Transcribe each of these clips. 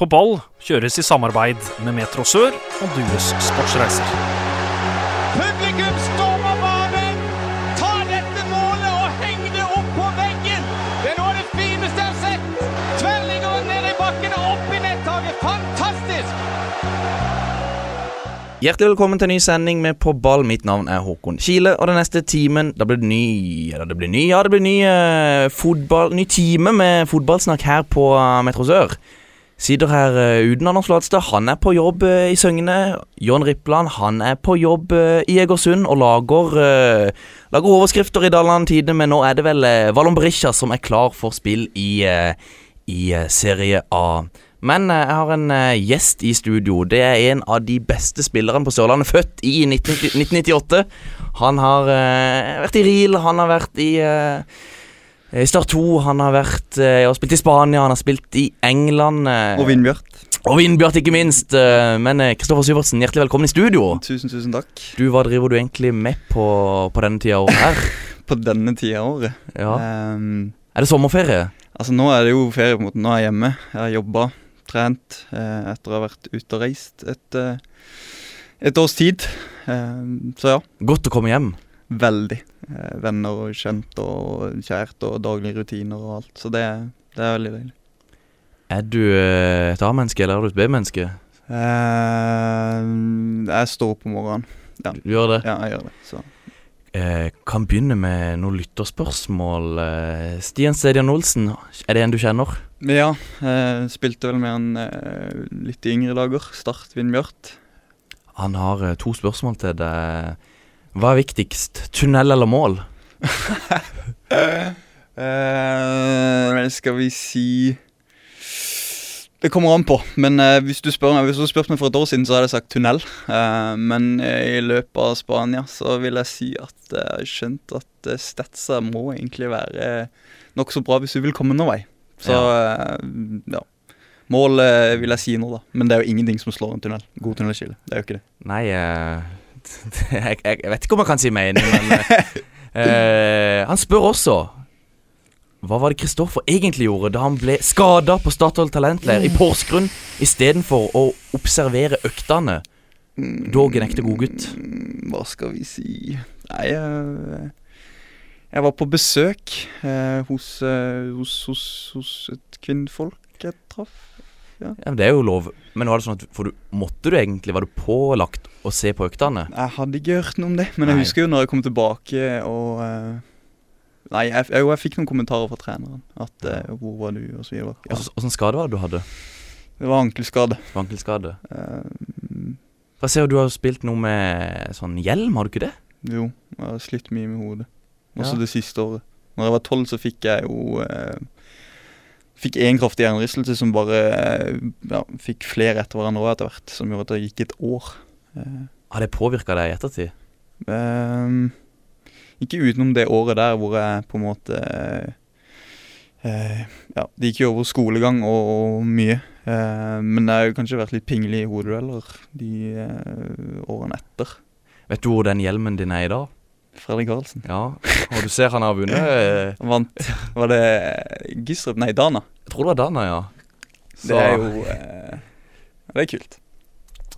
på ball kjøres i samarbeid med Metro Sør og Dues Sportsreiser. Publikum stormer banen! Ta dette målet og heng det opp på veggen! Det er noe av det fineste jeg har sett! Tverrliggeren ned i bakken og opp i nettaket. Fantastisk! Hjertelig velkommen til en ny sending med På ball. Mitt navn er Håkon Kile, og den neste timen Da blir det ny Ja, det blir ny, ja, det blir ny eh, fotball Ny time med fotballsnakk her på eh, Metro Sør. Sitter her eh, uten Anders Flatstad. Han er på jobb eh, i Søgne. John Rippland, han er på jobb eh, i Egersund og lager eh, Lager overskrifter i Daland Tidende, men nå er det vel uh, Valon Berisha som er klar for spill i eh, i eh, Serie A. Men eh, jeg har en eh, gjest i studio. Det er en av de beste spillerne på Sørlandet, født i 1990 1998. Han har eh, vært i Riel, han har vært i eh, i Start 2, han har vært eh, og spilt i Spania, han har spilt i England. eh, Og Vindbjart. og Vindbjart, ikke minst. eh, Men eh, Kristoffer Syvertsen, hjertelig velkommen i studio. Tusen, tusen takk. Du, Hva driver du egentlig med på, på denne tida av året her? På denne tida av året. Ja. Ehm, Er det sommerferie? altså, nå er det jo ferie, på en måte. Nå er jeg hjemme. Jeg har jobba, trent, eh, etter å ha vært ute og reist et, eh, et års tid. Ehm, så ja, Godt å komme hjem. veldig. Eh, venner og kjent og kjært og daglige rutiner og alt. Så det, er- det er veldig deilig. Er du eh, et A-menneske eller er du et B-menneske? Ehm, jeg står opp om morgenen. Du gjør det? Ja, jeg gjør det. Så. Eh, kan begynne med noen lytterspørsmål. Eh, Stian Stedian Olsen, er det en du kjenner? Men ja, eh, spilte vel med han eh, litt i yngre dager. Start Vindbjart. Han har eh, to spørsmål til deg. Hva er viktigst, tunnel eller mål? Eh, skal vi si Det kommer an på. Men eh, hvis du spør meg Hvis du hadde spurt meg for et år siden, så hadde jeg sagt tunnel. Eh, men eh, i løpet av Spania så vil jeg si at eh, jeg har skjønt at uh, Stetsa må egentlig være uh, nokså bra hvis du vil komme noen vei. Så eh, ja. Mål eh, vil jeg si nå, da. Men det er jo ingenting som slår en tunnel. God tunnelskille. Det er jo ikke det. Nei eh, jeg, jeg, jeg vet ikke om jeg kan si meg enig, men eh, eh, Han spør også Hva var det Kristoffer egentlig gjorde da han ble skada på Statoil talentleir i Porsgrunn istedenfor å observere øktene? Dog en ekte godgutt. Mm, Hva skal vi si Nei, jeg, jeg var på besøk eh, hos, eh, hos, hos, hos et kvinnfolk jeg traff. Ja, men Det er jo lov. Men var det sånn at for du, måtte du egentlig Var du pålagt å se på øktene? Jeg hadde ikke hørt noe om det, men jeg Nei. husker jo når jeg kom tilbake og eh, Nei, jeg, jeg, jo, jeg fikk noen kommentarer fra treneren. At eh, 'hvor var du?' og så videre. Ja, Åssen åssen skade var det du hadde? det var ankelskade. Vankelskade? Eh, For jeg ser jo du har jo spilt noe med sånn hjelm, har du ikke det? jo, jeg har slitt mye med hodet. Ja. Også det siste året. Når jeg var tolv, så fikk jeg jo eh, Fikk én kraftig hjernerystelse som bare eh, ja, fikk flere etter hverandre også etter hvert, som gjorde at det gikk et år. Eh, Har det påvirka deg i ettertid? ehm, ikke utenom det året der hvor jeg på en måte eh, eh, Ja, det gikk jo over skolegang og, og mye. Eh, men jeg har jo kanskje vært litt pingelig i hodedueller de eh, årene etter. Vet du hvor den hjelmen din er i dag? Fredrik Karlsen. Ja. Og du ser han har vunnet eh, Han vant Var det Gistrup? Nei, Dana. Jeg tror det var Dana, ja. Det er jo eh, Det er kult.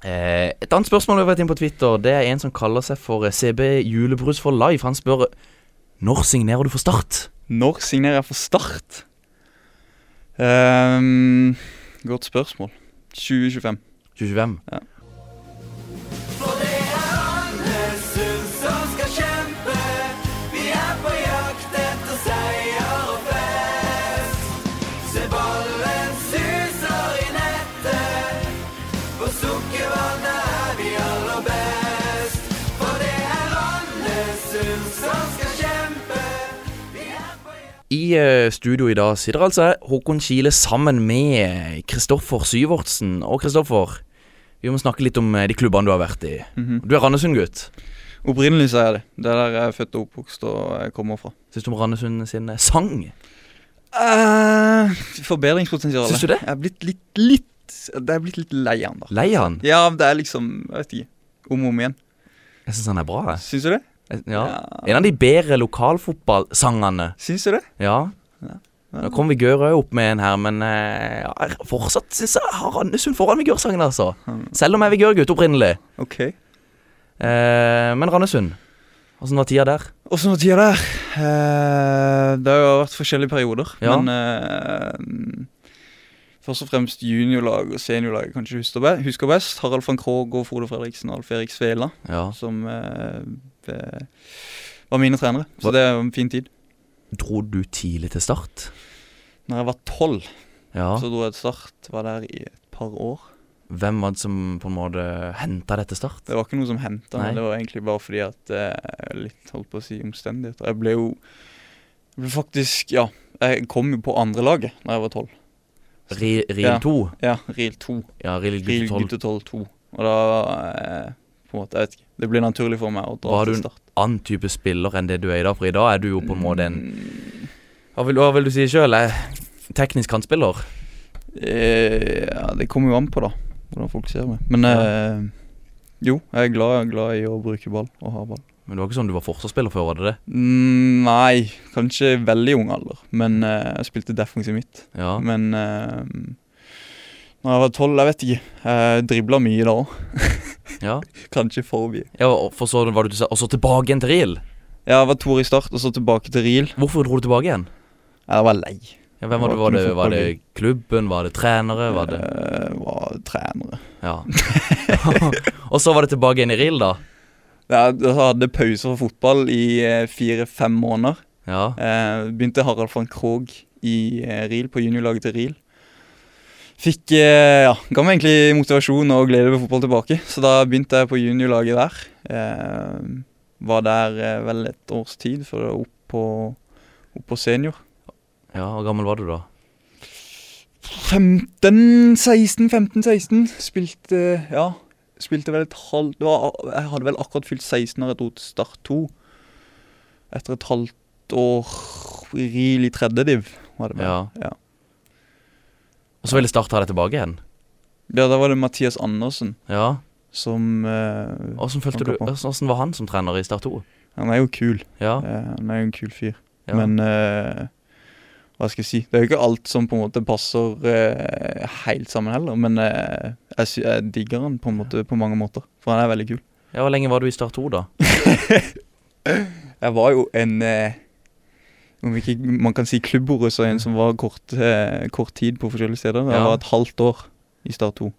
Eh, et annet spørsmål vi har vært inne på Twitter, det er en som kaller seg for eh, CB Julebrus for life. Han spør når signerer du for Start? Når signerer jeg for Start? Ehm, godt spørsmål. 2025. 2025. Ja. I eh, studio i dag sitter altså jeg, Håkon Kile sammen med Kristoffer Syvertsen. Og Kristoffer, vi må snakke litt om eh, de klubbene du har vært i. Du er Randesund-gutt. Opprinnelig så er jeg det. Det er der jeg er født og oppvokst og jeg kommer fra. Syns du om Randesund sin eh, sang? Uh, forbedringspotensial. Eh, Syns du det? Jeg er blitt litt, litt Det er blitt litt lei av den, da. Lei han? Ja, det er liksom Jeg vet ikke. Om og om igjen. Jeg syns han er bra. jeg. Syns du det? Jeg- Ja. En av de bedre lokalfotballsangene. Syns du det? Ja. Nå kom Vigør òg opp med en her, men eh, ja, jeg fortsatt syns jeg har Randesund foran Vigør-sangen, altså. Mm. Selv om jeg er Vigør-gutt opprinnelig. OK. Eh, men Randesund, åssen var tida der? Åssen var tida der? Eh, det har jo vært forskjellige perioder, Ja. men eh, Først og fremst juniorlag og seniorlag kanskje husker be- husker best. Harald van Krogh og Frode Fredriksen og Alf Erik Svela, Ja. som eh, be- var mine trenere. Så det er jo en fin tid. Dro du tidlig til Start? Når jeg var tolv, Ja. så dro jeg til Start. Var der i et par år. Hvem var det som på en måte henta deg til Start? Det var ikke noe som henta Nei. meg. Det var egentlig bare fordi at eh, Litt holdt på å si omstendigheter. Jeg ble jo jeg ble faktisk Ja, jeg kom jo på andrelaget da jeg var tolv. Ri, Ril Ja. 2? Ja, RIL 2. Ja, Ril RIL 12. gutte 12 2. Og da eh, På en måte, jeg vet ikke. Det ble naturlig for meg å dra Var du til en- start. Annen type spiller enn det du er i dag, for i dag er du jo på en måte Mm. en Hva vil, hva vil du si sjøl? Teknisk kantspiller? Eh, ja, det kommer jo an på, da. Hvordan folk ser meg. Men eh, jo, jeg er glad, glad i å bruke ball og ha ball. Men det var ikke sånn du var forsvarsspiller før, var det det? Mm, nei, kanskje veldig ung alder. Men eh, jeg spilte defensiv midt. Ja. Men uh, når jeg var tolv, jeg vet ikke. Jeg dribla mye da òg. ja. Kanskje for mye. ja og, for så var du til, og så tilbake igjen til Ril? Ja, Jeg var to år i start, og så tilbake til RIL. Hvorfor dro du tilbake igjen? Jeg var lei. Ja, hvem var det? Var det, var det klubben? Var det trenere? Var det Jeg Eh, var trenere. Ja. og så var det tilbake igjen i Ril, da? Jeg jeg hadde pauser fra fotball i eh, fire-fem måneder. Ja. Eh, begynte Harald van Krogh i eh, RIL, på juniorlaget til RIL. Fikk eh, Ja, ga meg egentlig motivasjon og glede ved fotball tilbake, så da begynte jeg på juniorlaget der. Eh, var der eh, vel et års tid før det var opp på, opp på senior. ja. Hvor gammel var du da? 15, 16, 15, 16. Spilte Ja, spilte vel et halvt det var- Jeg hadde vel akkurat fylt 16 når jeg dro til Start 2. Etter et halvt år i RIL i tredje div, var det vel. Ja. Ja. Og så ville Start ha deg tilbake igjen? Ja, da var det Mathias Andersen Ja. som eh, Åssen følte du Tanker på. Åssen var han som trener i Start 2? Han er jo kul. Ja. Eh, han er jo en kul fyr. ja. Men eh, hva skal jeg si Det er jo ikke alt som på en måte passer eh, helt sammen heller. Men eh, jeg, sy jeg digger han på en måte på mange måter, for han er veldig kul. ja, Hvor lenge var du i Start 2, da? Jeg var jo en eh, Om ikke man kan si klubbordet, så en som var kort, eh, kort tid på forskjellige steder. Jeg Ja. var et halvt år i Start 2.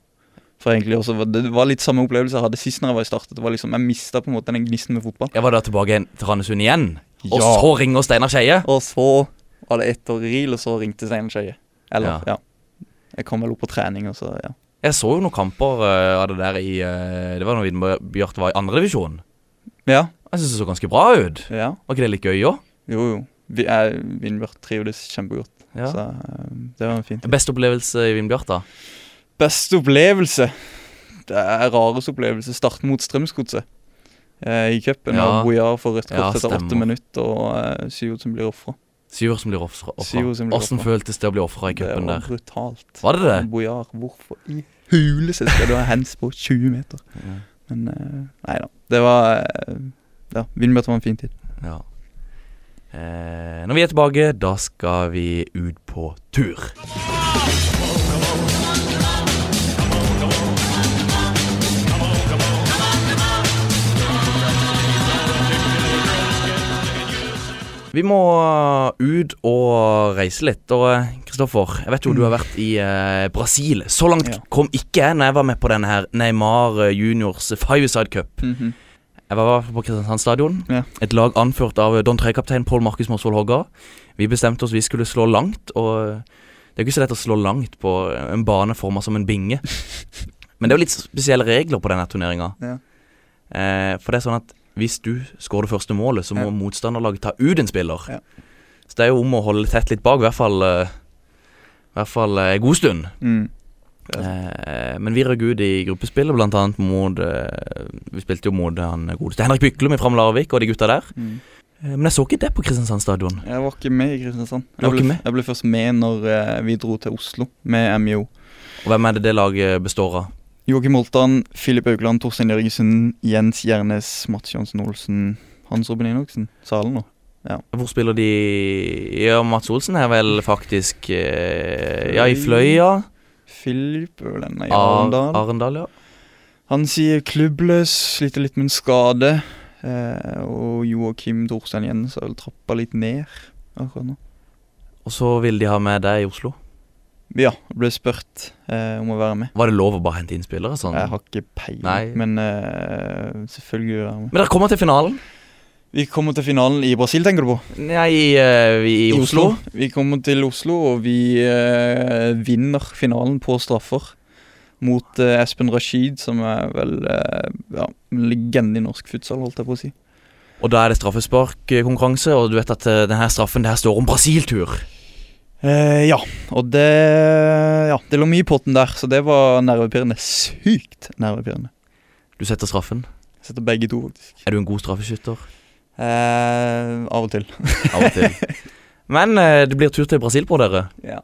For egentlig også, var- det var litt samme opplevelse jeg hadde sist når jeg var i Start. at Det var liksom, jeg mista på en måte den gnisten med fotball. Jeg var da tilbake igjen til Randesund igjen. Og Ja. så ringer Steinar Skeie. Og så var det ett år i RIL, og så ringte Steinar Skeie. Eller, ja. Jeg kom vel opp på trening, og så ja. Jeg så jo noen kamper eh, av det der i eh, Det var da Bjarte var i andredivisjon. Ja. Jeg syns det så ganske bra ut. ja. Var ikke det litt gøy òg? Jo, jo. Vi er Vindbjart trivdes kjempegodt, Ja. så eh, det var en fin tid. Beste opplevelse i Vindbjart, da? Beste opplevelse? Det er rareste opplevelse. Starten mot Strømsgodset eh, i cupen. Ja. Ja. Bojar får rødt Ja, kort etter åtte stemmer. minutter, og eh, Syvert som blir ofra. Syver som blir ofra. Syver som blir Åssen ofra. føltes det å bli ofra i Det cupen var der? brutalt. Var det det? Bojar, hvorfor i huleste skal du ha hands på 20 meter? Ja. Men eh, nei da. Det var eh, Ja, Vindbjart var en fin tid. Ja. Eh, når vi er tilbake, da skal vi ut på tur. Vi må ut og reise litt. Og eh, Kristoffer, jeg vet jo du har vært i eh, Brasil. Så langt Ja. kom ikke jeg når jeg var med på denne her Neymar eh, Juniors Fireside Cup. Mhm. Jeg var på Kristiansand stadion. Ja. Et lag anført av Don 3-kaptein Pål Markus Mosvold Hogga. Vi bestemte oss vi skulle slå langt, og det er jo ikke så lett å slå langt på en bane forma som en binge. Men det er jo litt spesielle regler på denne turneringa. Ja. Eh, for det er sånn at hvis du skårer det første målet, så må Ja. motstanderlaget ta ut en spiller. Ja. Så det er jo om å holde tett litt bak, i hvert fall eh, i hvert fall eh, en god stund. Mm. Ja. Eh, men vi røk ut i gruppespillet, blant annet mot eh, Vi spilte jo mot han godeste Henrik Byklum fra Larvik og de gutta der. Mm. Eh, men jeg så ikke det på Kristiansand stadion. Jeg var ikke med i Kristiansand. Du var Jeg ble, ikke med? jeg ble først med når eh, vi dro til Oslo med MJO. Og hvem er det det laget består av? Joakim Holtan, Filip Augland, Torstein Jørgensen, Jens Gjernes, Mats Johansen Olsen, Hans Robin Enoksen. Salen nå. Ja. Hvor spiller de Ja, Mats Olsen er vel faktisk eh, Ja, i Fløya. Filip er vel en i Ar- Arendal. Arendal, ja. Han sier klubbløs, sliter litt med en skade. Eh, og Joakim Dorstein Jens har vel trappa litt ned akkurat nå. Og så vil de ha med deg i Oslo. Ja, ble spurt eh, om å være med. Var det lov å bare hente inn spillere? sånn? Jeg har ikke peiling, Nei. men eh, selvfølgelig vil jeg være med. Men dere kommer til finalen. Vi kommer til finalen i Brasil, tenker du på? Nei, eh, vi, i Oslo. Vi kommer til Oslo, og vi eh, vinner finalen på straffer. Mot eh, Espen Rashid, som er vel eh, ja, en legende i norsk futsal, holdt jeg på å si. Og da er det straffesparkkonkurranse, og du vet at eh, denne straffen det her står om Brasil-tur. Eh, ja, og det Ja, det lå mye i potten der, så det var nervepirrende. Sykt nervepirrende. Du setter straffen. Jeg setter begge to, faktisk. Er du en god straffeskytter? Eh, av og til. Av og til. Men eh, det blir tur til Brasil på dere. Ja.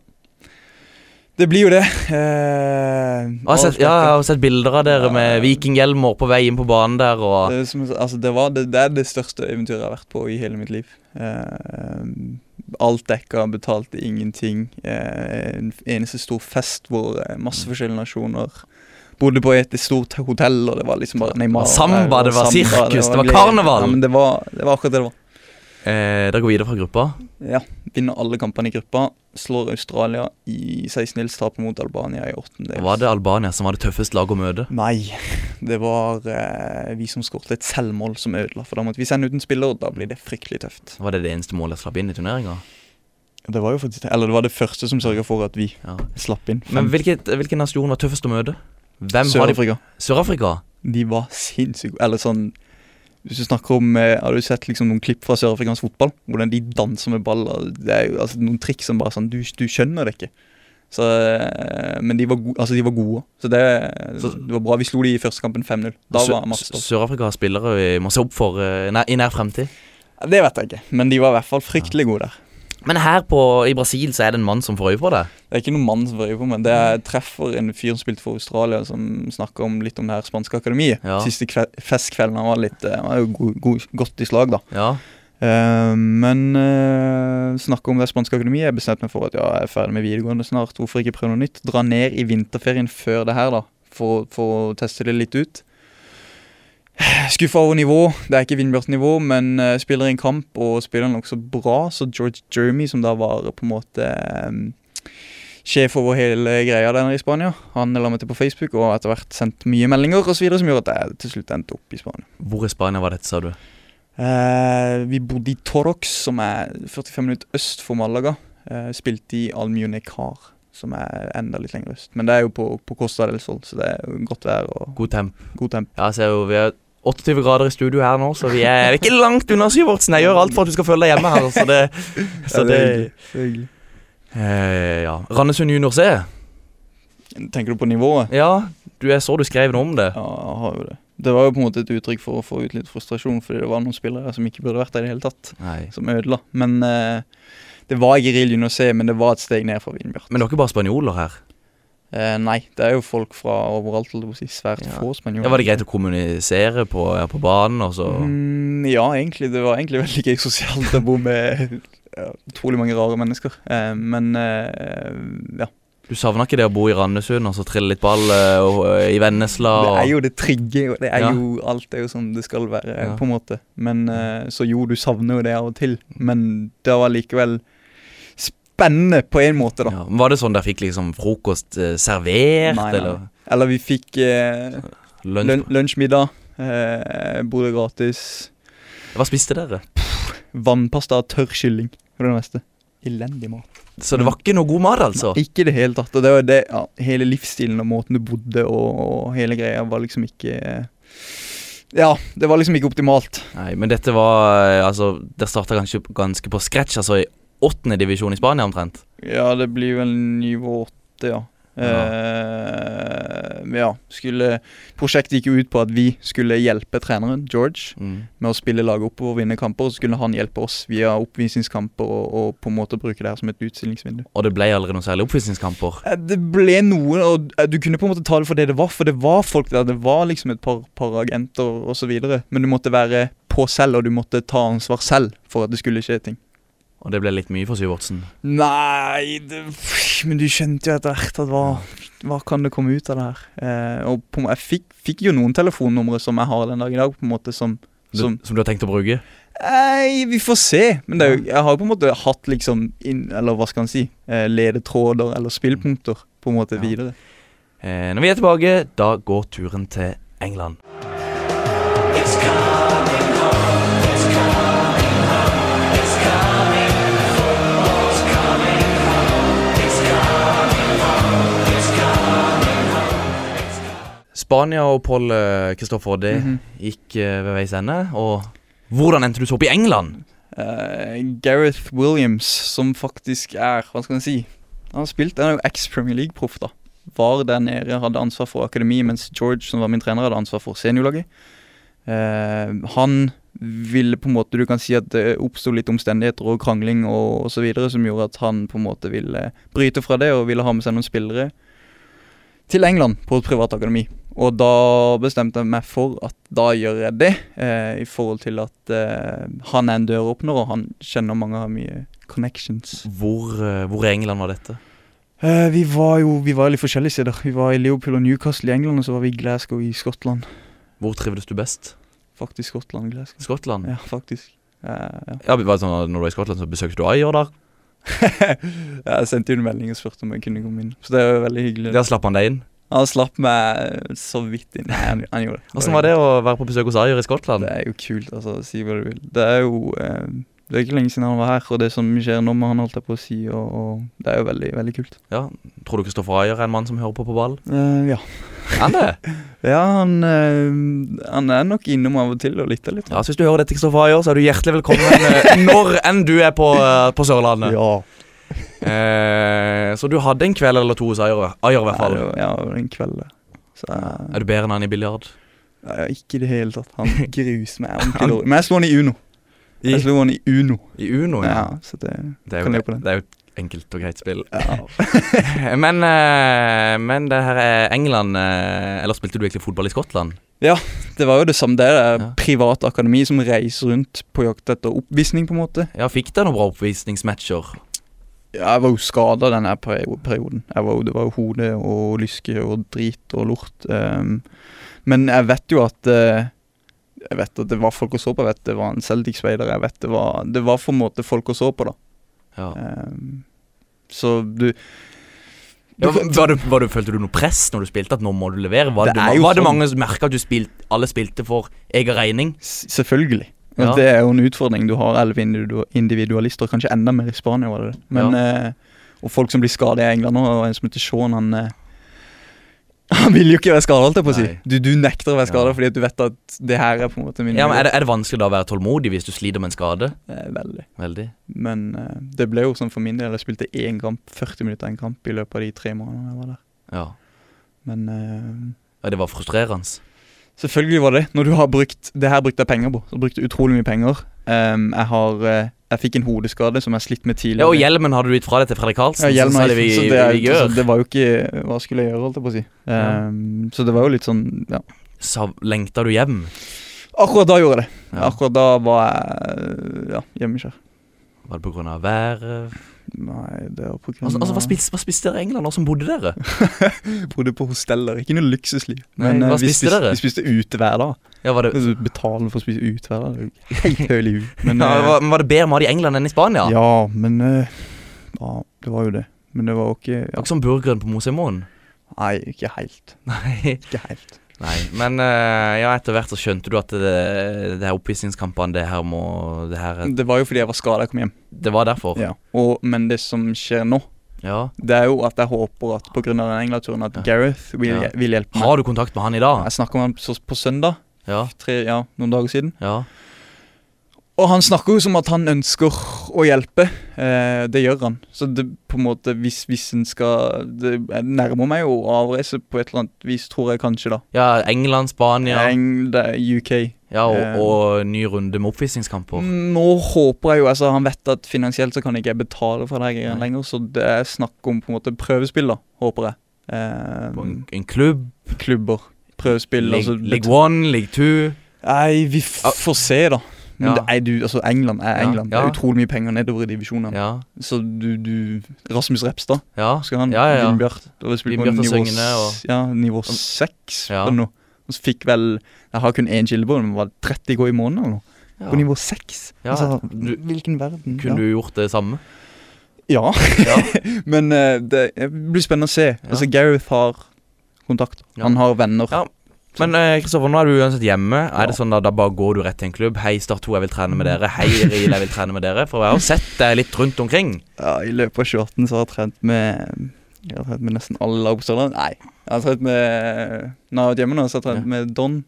Det blir jo det. Eh, Og Jeg har, sett, ja, jeg har sett bilder av dere med vikinghjelmer på vei inn på banen der. Og, Det, er som, altså, det, var, det, det er det største eventyret jeg har vært på i hele mitt liv. Eh, alt dekka, betalte ingenting. Eh, en eneste stor fest hvor eh, masse forskjellige nasjoner bodde på et stort hotell, og det var liksom bare Neymar. Samba, der, og det var samba, sirkus, det var glede. karneval. Ja, men det var, det var akkurat det det var. eh, dere går videre fra gruppa. Ja, Vinner alle kampene i gruppa. Slår Australia i 16-hils, taper mot Albania i åttendels. Var det Albania som var det tøffeste laget å møte? Nei, det var eh, vi som skåret et selvmål som ødela. For da måtte vi sende ut en spiller, og da blir det fryktelig tøft. Var det det eneste målet jeg slapp inn i turneringa? Det var jo faktisk Eller det var det første som sørga for at vi Ja. slapp inn. Men hvilket, hvilken nasjon var tøffest å møte? Hvem har de Sør-Afrika. Sør-Afrika? De var sinnssykt gode. Eller sånn Hvis du snakker om eh, Har du sett liksom noen klipp fra sørafrikansk fotball? Hvordan de danser med baller. Det er jo altså, noen triks som bare sånn Du, du skjønner det ikke. Så, eh, men de var, go altså, de var gode. Så det, Så- det var bra. Vi slo de i første kampen 5-0. Da Sø- var Mats Sø- Sør-Afrika har spillere vi må se opp for eh, nær, i nær fremtid. Det vet jeg ikke, men de var i hvert fall fryktelig gode der. Men her på, i Brasil så er det en mann som får øye på deg. Det er ikke noen mann som var på, men det er jeg treffer en fyr som spilte for Australia, som snakker om litt om det her spanske akademiet. Ja. Siste kve festkvelden han var litt eh, Han var jo go go godt i slag, da. Ja. Eh, men uh, snakke om det spanske akademiet. Jeg bestemte meg for at ja, jeg er ferdig med videregående snart. Hvorfor ikke prøve noe nytt? Dra ned i vinterferien før det her, da. For, for å teste det litt ut. Skuffa over nivå. Det er ikke Vindbjørns nivå, men eh, spiller i en kamp, og spiller den nokså bra. Så George Jeremy, som da var på en måte eh, sjef over hele greia der nede i Spania, han la meg til på Facebook og har etter hvert sendt mye meldinger osv. som gjorde at jeg til slutt endte opp i Spania. Hvor i Spania var dette, sa du? Eh, vi bodde i Torox, som er 45 minutter øst for Malaga. Eh, spilte i Almunicar, som er enda litt lenger øst. Men det er jo på, på Costa del Sol, så det er jo godt vær og God temp. god temp. Ja, så er jo, vi er 28 grader i studio her nå, så vi er ikke langt unna Syvertsen. Jeg gjør alt for at du skal føle deg hjemme her, så det, så Ja, det hyggelig, det er hyggelig. eh, Ja. Randesund Junior C. Tenker du på nivået? Ja, du, jeg så du skrev noe om det. Ja, jeg har jo det. Det var jo på en måte et uttrykk for å få ut litt frustrasjon, fordi det var noen spillere som ikke burde vært der i det hele tatt, Nei. som ødela. Men eh, det var ikke real junior C, men det var et steg ned fra Vinbjørn. Men det er ikke bare spanjoler her. Eh, nei, det er jo folk fra overalt, holdt jeg på å si. Svært Ja. få spanjoler. Ja, var det greit å kommunisere på, ja, på banen? Og så? Mm, ja, egentlig. Det var egentlig veldig gøy sosialt å bo med ja, utrolig mange rare mennesker. Eh, men eh, ja. Du savna ikke det å bo i Randesund og så trille litt ball eh, og, eh, i Vennesla? Det Og... er jo det trigge, og det er Ja. jo alt er jo som det skal være, Ja. på en måte. Men eh, Så jo, du savner jo det av og til, men det var likevel spennende på en måte, da. Ja, men var det sånn dere fikk liksom frokost eh, servert, Nei, nei. Eller vi fikk eh, eller lun lunsj? lunsjmiddag, eh, bodde gratis, Hva spiste dere? vannpasta og tørr kylling for det meste. Elendig mat. Så det var ikke noe god mat, altså? Ikke i det hele tatt. Og det var det, ja, hele livsstilen og måten du bodde og, og hele greia var liksom ikke Ja, det var liksom ikke optimalt. Nei, men dette var eh, Altså, dere starta kanskje ganske på scratch, altså i åttende divisjon i Spania omtrent. Ja, det blir vel nivå åtte, ja. Ja. Eh, ja, skulle Prosjektet gikk jo ut på at vi skulle hjelpe treneren, George, med å spille laget oppover og vinne kamper. Og så skulle han hjelpe oss via oppvisningskamper og, og på en måte bruke det her som et utstillingsvindu. Og det ble aldri noe særlig oppvisningskamper. Eh, Det ble noen, og eh, du kunne på en måte ta det for det det var, for det var folk der. Det var liksom et par, par agenter og så videre. Men du måtte være på selv, og du måtte ta ansvar selv for at det skulle skje ting. Og det ble litt mye for Syvertsen. Nei, det, men du skjønte jo etter hvert at hva, hva kan det komme ut av det her? Eh, og på, en må- jeg fikk, fikk jo noen telefonnumre som jeg har den dag i dag, på en måte som, Du, som som, du har tenkt å bruke? Nei, vi får se. Men det er jo, jeg har jo på en måte hatt liksom inn, Eller hva skal en si? Eh, ledetråder eller spillpunkter på en måte Ja. videre. Eh, når vi er tilbake, da går turen til England. Spania og Pål eh, Kristoffer, det Mhm. gikk eh, ved veis ende. Og hvordan endte du så opp i England? Eh, Gareth Williams, som faktisk er Hva skal en si? Han har spilt, han er jo eks-Premier League-proff, da. Var der nede, hadde ansvar for akademi, mens George, som var min trener, hadde ansvar for seniorlaget. Eh, han ville på en måte Du kan si at det oppsto litt omstendigheter og krangling og osv. som gjorde at han på en måte ville bryte fra det og ville ha med seg noen spillere til England på et privat akademi. Og da bestemte jeg meg for at da gjør jeg det, eh, i forhold til at eh, han er en døråpner, og han kjenner mange av mye connections. Hvor, eh, hvor i England var dette? Eh, vi var jo vi var i litt forskjellige steder. Vi var i Liverpool og Newcastle i England, og så var vi i Glasgow i Skottland. Hvor trivdes du best? Faktisk Skottland, Glasgow. Skottland? Ja, faktisk. Eh, ja. Ja, var det sånn at Når du var i Skottland, så besøkte du Ayer der? jeg sendte jo en melding og spurte om jeg kunne komme inn, så det var veldig hyggelig. Der slapp han deg inn? Han slapp meg så vidt inn. Nei, han, han gjorde det. Åssen var det å være på besøk hos Ayer i Skottland? Det er jo kult, altså. Si hva du vil. Det er jo eh, Det er ikke lenge siden han var her, og det som skjer nå med han, holdt jeg på å si, og, og det er jo veldig, veldig kult. Ja, Tror du Kristoffer Ayer er en mann som hører på på ball? Eh, ja. Er han det? ja, han eh, Han er nok innom av og til og lytter litt. Ja, så Hvis du hører dette, Kristoffer Ayer, så er du hjertelig velkommen eh, når enn du er på, eh, på Sørlandet. Eh, så du hadde en kveld eller to hos Ayer, Ayer i hvert fall. Ja, det var- ja, det var en kveld, det. Så jeg, Er du bedre enn han i biljard? ja, ikke i det hele tatt. Han gruser meg ordentlig dårlig. Men jeg slo han i Uno. Jeg slo han i Uno. I Uno? Ja, så det Det er kan jo, leve på den. det er jo et enkelt og greit spill. ja. men, eh, men det her er England eh, Eller spilte du egentlig fotball i Skottland? Det var jo det samme. Det er Ja. privat akademi som reiser rundt på jakt etter oppvisning, på en måte. Ja, Fikk dere noen bra oppvisningsmatcher? Ja, jeg var jo skada den her perio- perioden. Jeg var, jo- det var jo hode og lyske og drit og lort. ehm. men jeg vet jo at eh, Jeg vet at det var folk å så på. Jeg vet det var en Celtic-speider. Jeg vet det var Det var for en måte folk å så på, da. Ja. Ehm, så du Ja, var det, var det, følte du noe press når du spilte? At nå må du levere? Var det, Det er jo var det sånn. mange som merka at du spilte, alle spilte for egen regning? s- Selvfølgelig. Og Ja. Det er jo en utfordring. Du har elleve individu- individualister, kanskje enda mer i Spania. var det det. Men, eh, og folk som blir skadet i England nå, og en som heter Sean, han eh, han vil jo ikke være skada, holdt jeg på å si. Nei. Du, du nekter å være skada Ja. fordi at du vet at det her er på en måte min Ja, men er det, er det vanskelig da å være tålmodig hvis du sliter med en skade? Eh, Veldig. Veldig. Men eh, det ble jo sånn for min del. Jeg spilte én kamp, 40 minutter en kamp i løpet av de tre månedene jeg var der. Ja. Men eh, ja det var frustrerende. Selvfølgelig var det. Når du har brukt Det her brukte jeg penger på. Så brukte jeg utrolig mye penger. Ehm, jeg har eh, Jeg fikk en hodeskade som jeg har slitt med tidligere. Ja, Og hjelmen hadde du gitt fra deg til Fredrik Karlsen, Ja, hjelm så er det sånn- vi, ikke- så det, er, vi så gjør. det var jo ikke Hva skulle jeg gjøre, holdt jeg på å si. Ehm, Så det var jo litt sånn ja. Sav, lengta du hjem? Akkurat da gjorde jeg det. Ja. Akkurat da var jeg ja, hjemmekjør. Var det pga. været? Nei, det var på grunn Altså, altså hva, av- spiste, hva spiste dere i England? Hvordan bodde dere? bodde på hosteller. Ikke noe luksusliv. Nei, eh, hva vi, spiste spiste, dere? vi spiste ute hver dag. Ja, var, det, Altså, Betale for å spise ute hver dag. det er jo Helt høl i huet. Men, ja, eh, var, var det bedre mat i England enn i Spania? ja, men eh, ja, det var jo det. Men det var jo ikke Det ja. var ikke som burgeren på Mosheimoen. Nei, ikke helt. Nei. Ikke helt. Nei, men eh, ja, etter hvert så skjønte du at det, det her oppvisningskampene, det her må det, her, Det var jo fordi jeg var skada jeg kom hjem. det var derfor. Ja. Og, men det som skjer nå, Ja. det er jo at jeg håper at pga. den England-turen at Ja. Gareth vil, Ja. vil hjelpe meg. Har du kontakt med han i dag? Jeg snakka med han så- på søndag, Ja. tre, ja, noen dager siden. ja. Og han snakker jo som at han ønsker å hjelpe. Eh, det gjør han. Så det på en måte, hvis, hvis en skal det, Jeg nærmer meg jo å avreise på et eller annet vis, tror jeg kanskje, da. ja England, Spania Eng, det er UK. ja, eh, og, og ny runde med oppvisningskamper. Mm, Nå håper jeg jo altså Han vet at finansielt så kan ikke jeg betale for det her greiene Nei. lenger, så det er snakk om på en måte prøvespill, da, håper jeg. Eh, En, en klubb. klubber. Prøvespill. League, altså, League One, League Two. Nei, vi f Ah. får se, da. Ja. Men det er du, altså England er Ja, England. Det ja. er utrolig mye penger nedover i divisjonene. Ja, Så du, du Rasmus Repstad, ja. husker han? Ja, ja, ja. Vindbjart. Da var det spilt på Vindbjart og nivå, Søgne og- s- ja, nivå 6 Ja. eller noe. Og så fikk vel Jeg har kun én kildebrød, men var det 30 gå i måneden eller noe? På ja. nivå 6? Ja, altså, du- hvilken verden? Kunne du gjort det samme? Ja. Ja. ja. men eh, det det blir spennende å se. Altså, Gareth har kontakt. Ja. Han har venner. Ja. Men eh, Kristoffer, nå er du uansett hjemme. Er det Ja. Mm. sånn da, da bare går du rett til en klubb? Hei, Start 2, jeg vil trene med dere. Hei, Ril, jeg vil trene med dere. For jeg har sett deg litt rundt omkring. Ja, I løpet av 2018 så har jeg trent med Jeg har trent med nesten alle lagpostillerne. Nei, jeg har trent med Når jeg har vært hjemme nå, så har jeg trent Ja. med Don.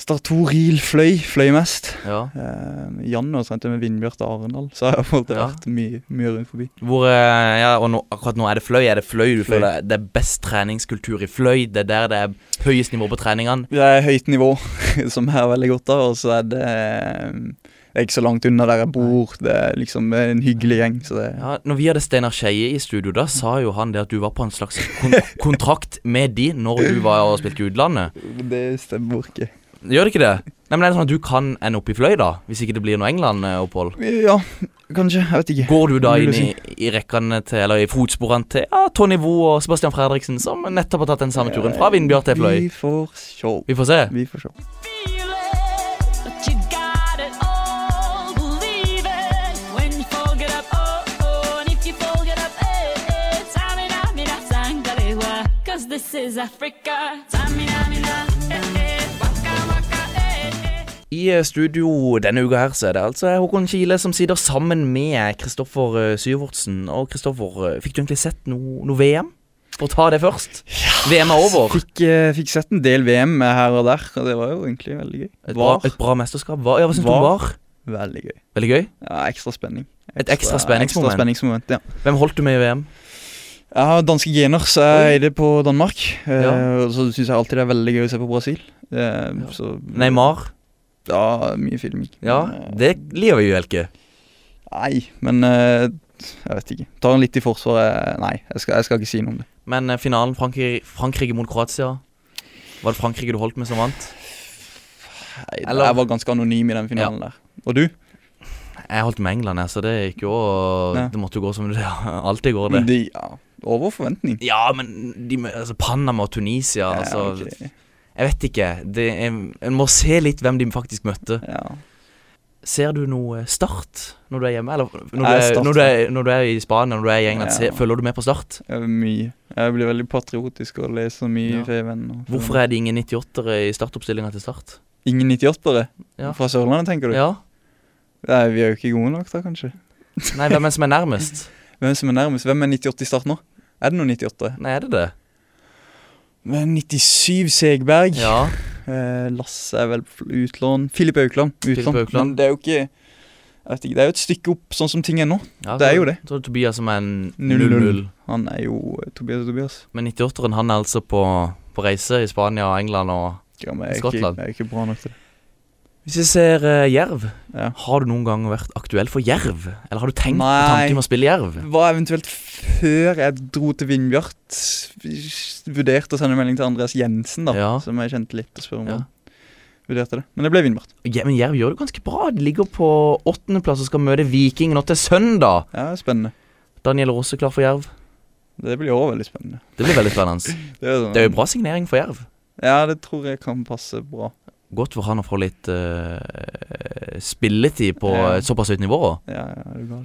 Startoril fløy, fløy mest. Ja. Eh, Jan har trent med Vindbjart og Arendal, så jeg har fått Ja. vært mye, mye rundt forbi. Hvor, eh, ja, og nå, akkurat nå er det Fløy. Er det Fløy du Fløy. føler det er best treningskultur i Fløy? Det er der det er høyest nivå på treningene? Det er høyt nivå, som jeg har veldig godt av, og så er det eh, det er ikke så langt unna der jeg bor. Det er liksom en hyggelig gjeng. Så det, Ja, når vi hadde Steinar Skeie i studio, da sa jo han det at du var på en slags kon kontrakt med de når du var og spilte i utlandet. det stemmer ikke. Gjør det ikke det? Nei, men er det sånn at du kan ende opp i Fløy, da? Hvis ikke det blir noe England-opphold? Ja, kanskje. Jeg vet ikke. Går du da inn Mulig å i, i rekkene til, eller i fotsporene til ja, Tony Vo og Sebastian Fredriksen, som nettopp har tatt den samme turen fra Vindbjart til Fløy? Vi får se. Vi får se. Vi får se. feel it, but you got it all. Believe it when you fall, get up. Oh, oh, and if you fall, get up. Eh, eh. Tamina, mina, sangalewa, 'cause this is Africa. Tamina, mina, eh, eh. Waka, waka, eh, eh. I eh, studio denne uka her så er det altså Håkon Kile som sitter sammen med Kristoffer eh, Syvertsen. Og Kristoffer, eh, fikk du egentlig sett noe noe VM? For å ta det først. VM er over. Fikk, eh, fikk sett en del VM her og der, og det var jo egentlig veldig gøy. Et bra, Var et bra mesterskap. Var, ja, hva syns du om Var. var? veldig gøy. Veldig gøy. Ja, ekstra spenning. Et ekstra spenningsmoment. Ekstra spenningsmoment, ja. Hvem holdt du med i VM? Jeg har danske gener, så jeg er det på Danmark. Eh, Ja. Og så syns jeg alltid det er veldig gøy å se på Brasil. Eh, Så Neymar? Ja, mye filming. Ja, Men, eh, det lever jo ikke. Nei, men eh, jeg vet ikke. Tar han litt i forsvaret Nei, jeg skal, jeg skal ikke si noe om det. Men eh, finalen Frankrike, Frankrike mot Kroatia Var det Frankrike du holdt med som vant? Nei, Eller- Jeg var ganske anonym i den finalen der. Og du? Jeg holdt med England, jeg, så det gikk jo Ja. Det måtte jo gå som det alltid går, det. Men de, ja, over forventning. Ja, men de, med- altså, Panama og Tunisia Ja, altså, ok. Jeg vet ikke. Det, er- en må se litt hvem de faktisk møtte. ja. Ser du noe eh, Start når du er hjemme? Eller når du Jeg er, starter. når du er, når du er i Spania, når du er i England, Ja. se, følger du med på Start? Ja, Mye. Jeg blir veldig patriotisk og leser mye Ja. Feven. og- Hvorfor er det ingen 98-ere i startoppstillinga til Start? Ingen 98-ere? Ja. Fra Sørlandet, tenker du? Ja? Nei, vi er jo ikke gode nok, da, kanskje. Nei, hvem er det som er nærmest? Hvem som er nærmest? Hvem er 98 i start nå? Er det noen 98? Nei, er det det? Men 97 Segberg. Ja. Eh, Lasse er vel på utlån. Filip Aukland. Utlån. Aukland. Men det er jo ikke Jeg vet ikke, Det er jo et stykke opp, sånn som ting er nå. ja Det er så- jo det. Så er det Tobias som er en 0-0. 0-0. Han er jo eh, Tobias og Tobias. Men 98-eren han er altså på, på reise i Spania og England og Ja, men jeg er, ikke, Skottland. jeg er ikke bra nok til det. Hvis vi ser eh, Jerv, Ja. har du noen gang vært aktuell for Jerv? Eller har du tenkt på Nei. tanken om å spille Jerv? Var eventuelt før jeg dro til Vindbjart, vurderte å sende melding til Andreas Jensen, da. Ja. Som jeg kjente litt og spør om. Ja. han Vurderte det. Men det ble Vindbjart. Ja, men Jerv gjør det ganske bra. De ligger på åttendeplass og skal møte Viking nå til søndag. Ja, spennende. Daniel Rose klar for Jerv. Det blir også veldig spennende. Det blir veldig spennende. Det er, sånn, Det er jo bra signering for Jerv. Ja, det tror jeg kan passe bra. Godt for han å få litt eh, spilletid på Ja. et såpass høyt nivå. Ja, ja, er du gal.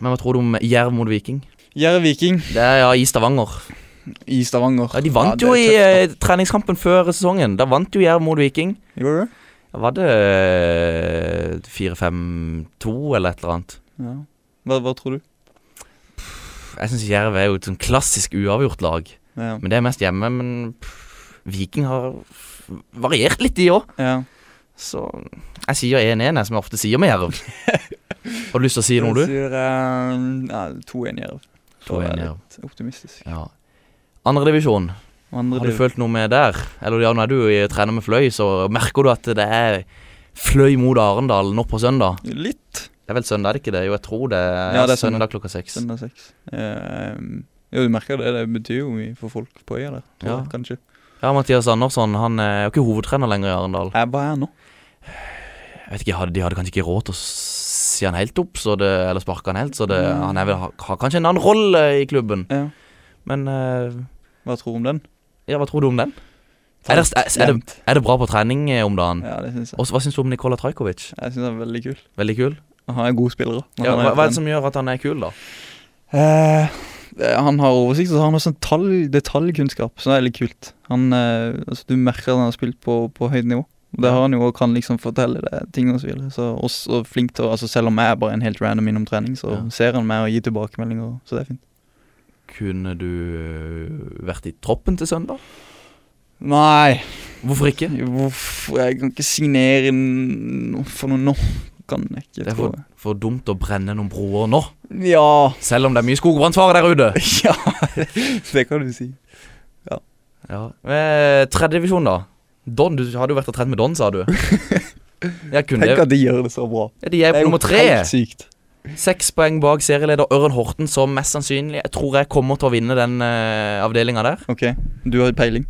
Men hva tror du om Jerv mot Viking? Jerv Viking Det er ja, i Stavanger. i Stavanger. Ja, De vant det jo er i tøft, eh, treningskampen før sesongen. Da vant jo Jerv mot Viking. da. Gjorde du det? Var eh, det 4-5-2 eller et eller annet? Ja. Hva, hva tror du? Jeg syns Jerv er jo et sånn klassisk uavgjort lag. Ja. Men det er mest hjemme. Men pff, Viking har variert litt, de òg. ja. Så jeg sier 1-1, jeg, som jeg ofte sier med Jerv. har du lyst til å si noe, du? Jeg sier eh, ja, 2-1 Jerv. For å 2-1 være Jerv. litt Optimistisk. Ja. Andredivisjon, Og Andre har du div- følt noe med der? Eller ja, nå er du jo i- trener med Fløy, så merker du at det er Fløy mot Arendal nå på søndag? Litt. Det er vel søndag, er det ikke det? Jo, jeg tror det er, Ja, det er søndag søndag. klokka seks. Søndag Ehm, seks. Eh, jo, du merker det. Det betyr jo mye for folk på øya der. tror Ja. jeg, Kanskje. Ja, Mathias Andersson han er jo ikke hovedtrener lenger i Arendal. Jeg bare er nå. Jeg vet ikke, hadde- De hadde kanskje ikke råd til å si han helt opp, så det, eller sparke han helt, så det, han er vel, har, har kanskje en annen rolle i klubben. Ja. Men eh, Hva tror du om den? ja, hva tror du om den? Er det, er, er, det, er det bra på trening eh, om dagen? Ja, det syns jeg. Og så- hva syns du om Nikola Trajkovic? Jeg syns han er veldig kul. Veldig kul. Og Han er gode spillere. men Ja, han, hva, er hva er på det som gjør at han er kul, da? den- Eh, han har oversikt, og så har han også en tal- detaljkunnskap, så det er litt kult. Han, eh, altså, du merker at han har spilt på, på høyt nivå. Og Det har han jo og kan liksom fortelle deg ting og så videre. Så også flink til å, altså Selv om jeg er bare en helt random innom trening, så Ja. ser han meg og gir tilbakemeldinger, så det er fint. Kunne du eh, vært i troppen til søndag? Nei, Hvorfor ikke? Hvorfor? Jeg kan ikke signere noe for noe nå. Kan jeg ikke, Det er tror for, jeg. for dumt å brenne noen broer nå, Ja. selv om det er mye skogbrannfare der ute. ja, det kan du si. Ja. Eh, Tredjedivisjon, da. Don, Du hadde jo vært og trent med Don, sa du. Ja, kunne Tenk det. at de gjør det så bra. Ja, de er Det på er jo nummer tre. helt sykt. Seks poeng bak serieleder Ørn Horten, som mest sannsynlig jeg tror jeg kommer til å vinne den uh, avdelinga der. Ok, du har peiling.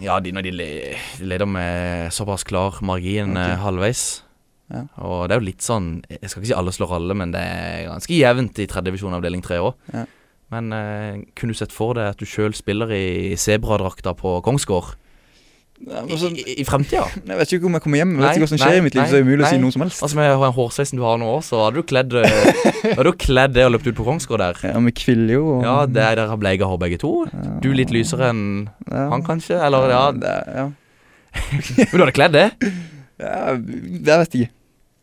Ja, de, når de, le, de leder med såpass klar margin Ok. eh, halvveis. Ja. Og det er jo litt sånn Jeg skal ikke si alle slår alle, men det er ganske jevnt i tredje divisjon avdeling tre òg. Ja. Men eh, kunne du sett for deg at du sjøl spiller i sebradrakta på Kongsgård Ja, i, men så- i, i fremtida? Jeg vet ikke om jeg kommer hjem. Jeg vet Nei, ikke hva som nei, skjer i mitt liv, nei, så det er umulig å si nei. noe som helst. Altså Med den hårsveisen du har nå, så hadde du kledd eh, Hadde du kledd det og løpt ut på Kongsgård der. Ja, Vi kviller jo. Og, Ja, det er der har bleika hår begge to. Du litt lysere enn ja. han, kanskje? Eller ja, det er, ja. Men du hadde kledd det? ja Jeg vet ikke.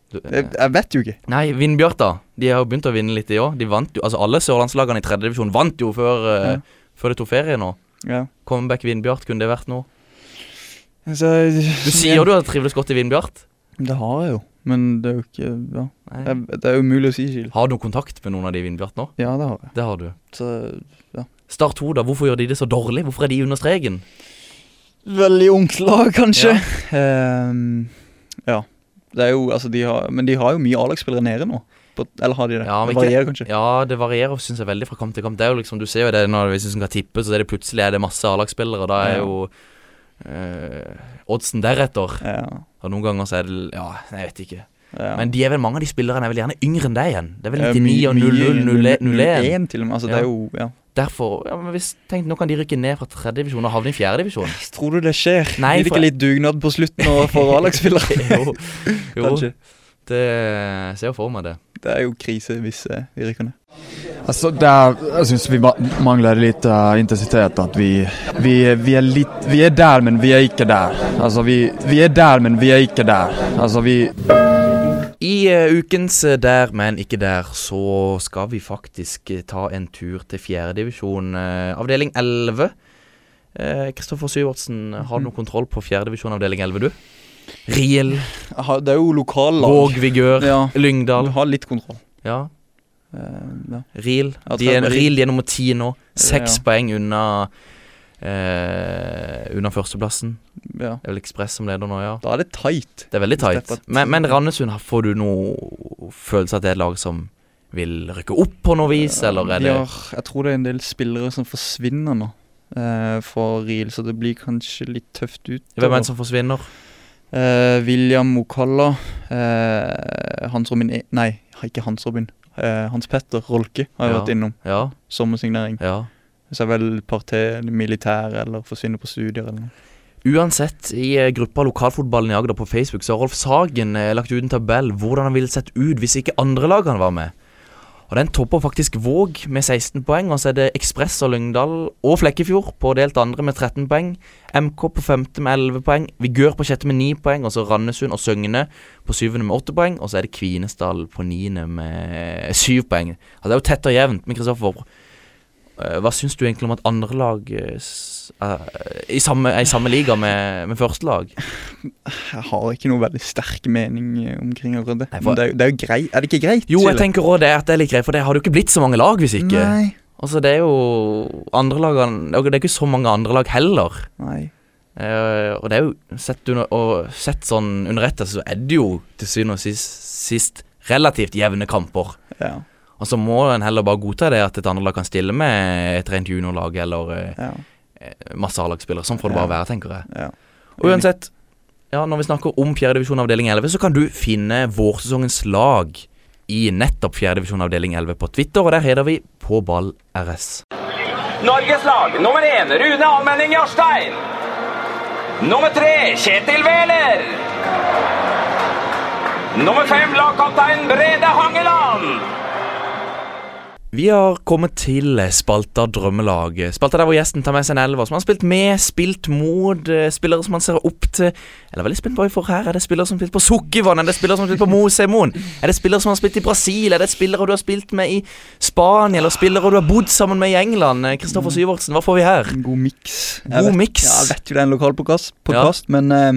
Du, Jeg, jeg vet jo ikke. Nei, Vindbjart da De har jo begynt å vinne litt i år De vant jo, altså alle sørlandslagene i tredje divisjon Vant jo før, eh, Ja. før de tok ferie nå Ja. Comeback Vindbjart, kunne det vært noe? Så, Du sier du har trivdes godt i Vindbjart Det har jeg jo, men det er jo ikke ja. Nei. jeg, Det er umulig å si, Gil. Har du noen kontakt med noen av de i Vindbjart nå? Ja, det har jeg. Det har du Så Start 2 da, hvorfor gjør de det så dårlig? Hvorfor er de under stregen? Veldig ungt lag, kanskje. Ehm, ja. Det er jo, altså, de har, men de har jo mye A-lagsspillere nede nå. På, eller har de det? Ja, men det ikke- varierer kanskje. Ja, det varierer synes jeg veldig fra kamp til kamp Det er jo liksom, du ser jo det når hvis du skal tippe Så er det plutselig er det masse A-lagsspillere og Da er Ja. jo eh, oddsen deretter Ja, Og noen ganger så er det, ja, jeg vet ikke ja. Men de er vel mange av de spillerne er vel gjerne yngre enn deg igjen. Det er vel Eh, 99 mye- og 00, mye- 01. 01 til og med. Altså, det Ja. er jo, ja. Derfor ja, men hvis, Tenk, nå kan de rykke ned fra tredje divisjon og havne i fjerde divisjon. Tror du det skjer? Nei, Blir det for- ikke litt dugnad på slutten nå for A-lagsspillere? Jo, jo Kanskje. det jeg ser jo for meg det. Det er jo krise hvis eh, de rykker ned. Altså, det er, jeg syns vi ma- mangler litt eh, intensitet. At vi, vi, vi, er litt, vi er der, men vi er ikke der. Altså, vi, vi er der, men vi er ikke der. Altså, vi, I eh, ukens eh, Der, men ikke der, så skal vi faktisk eh, ta en tur til fjerdedivisjon, uh, avdeling 11. Eh, Kristoffer Syvertsen, eh, Mhm. har du noe kontroll på fjerdedivisjon, avdeling 11, du? Riel, Aha, Det er jo lokallag. Våg Vigør, Ja, du Lyngdal. har litt kontroll. Ja, Eh, ja. Riel. Ja, De er, Trøndelag. Riel de er nummer ti nå. Seks Ja. poeng unna eh, Unna førsteplassen. ja. Det er vel Ekspress som leder nå, ja. Da er det tight. Det er veldig tight. Steppa ti. Men, men Randesund, har- får du noe følelse av at det er et lag som vil rykke opp på noe vis, eller er Eh, De det har- jeg tror det er en del spillere som forsvinner nå eh, for Riel, så det blir kanskje litt tøft ut. Hvem er det som forsvinner? Eh, William Mokalla. Eh, Hans Robin e Nei, ikke Hans Robin. Eh, Hans Petter Rolke har jeg Ja. vært innom. Ja, Sommersignering. ja. Så er vel par til militære eller forsvinner på studier eller noe. Uansett, i eh, gruppa Lokalfotballen i Agder på Facebook så har Rolf Sagen eh, lagt ut en tabell hvordan han ville sett ut hvis ikke andre lag han var med. Og Den topper faktisk Våg med 16 poeng, og så er det Ekspress og Lyngdal og Flekkefjord på delt andre med 13 poeng. MK på femte med 11 poeng, Vigør på sjette med 9 poeng, og så Randesund og Søgne på syvende med 8 poeng, og så er det Kvinesdal på niende med 7 poeng. Altså Det er jo tett og jevnt, men Kristoffer, eh, hva syns du egentlig om at andre lag eh, s- eh, i samme, er i samme liga med, med første lag. Jeg har ikke noe veldig sterk mening eh, omkring akkurat det. Nei, for- Men det er, jo- det er jo greit. Er det ikke greit? Jo, jeg Silje? tenker også det at det er litt greit, for det har jo ikke blitt så mange lag hvis ikke. Nei. Altså, det er jo andre lagene og Det er ikke så mange andre lag heller. Nei. Eh, og det er jo sett, under, og sett sånn under ett, så er det jo til syvende og sist, sist relativt jevne kamper. Ja. Og så må en heller bare godta det at et andre lag kan stille med et rent juniorlag eller eh, ja. eh, masse A-lagsspillere. Sånn får det Ja. bare være, tenker jeg. Ja. Og uansett, ja, når vi snakker om fjerdedivisjon avdeling 11, så kan du finne vårsesongens lag i nettopp fjerdedivisjon avdeling 11 på Twitter, og der heter vi På ball RS. Norges lag nummer én Rune Almenning Jarstein. Nummer tre Kjetil Wæler. Nummer fem lagkaptein Brede Hangeland. Vi har kommet til spalta Drømmelaget. Spalta der hvor gjesten tar med seg en elver som han har spilt med, spilt mot, eh, spillere som han ser opp til. Eller veldig spent på, hva vi får her er det spillere som har spilt på Sukkivann? Er det spillere som har spilt på Mosemoen? Er det spillere som har spilt i Brasil? Er det spillere du har spilt med i Spania? Eller spillere du har bodd sammen med i England? Eh, Kristoffer Syvertsen, hva får vi her? En god miks. Jeg God vet- miks. Ja, jeg vet jo det er en lokal podcast, podcast men eh,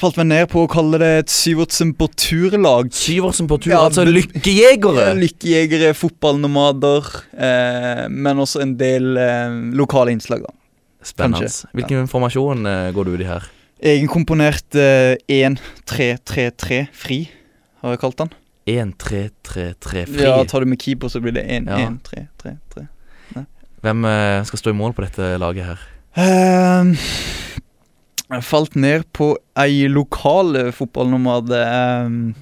falt meg ned på å kalle det et Syvertsen på turlag. Syvertsen på tur, Ja, altså men- lykkejegere. Lykkejegere, fotballnomader, eh, men også en del eh, lokale innslag, da. Spennende. kanskje. Hvilken informasjon eh, går du ut i her? Egenkomponert eh, 1-3-3-3 fri, har jeg kalt den. 1-3-3-3 fri. Ja, tar du med keeper, så blir det Ja. 1-1-3-3-3. Hvem eh, skal stå i mål på dette laget her? Ehm, Jeg falt ned på ei lokal fotballnomade ehm,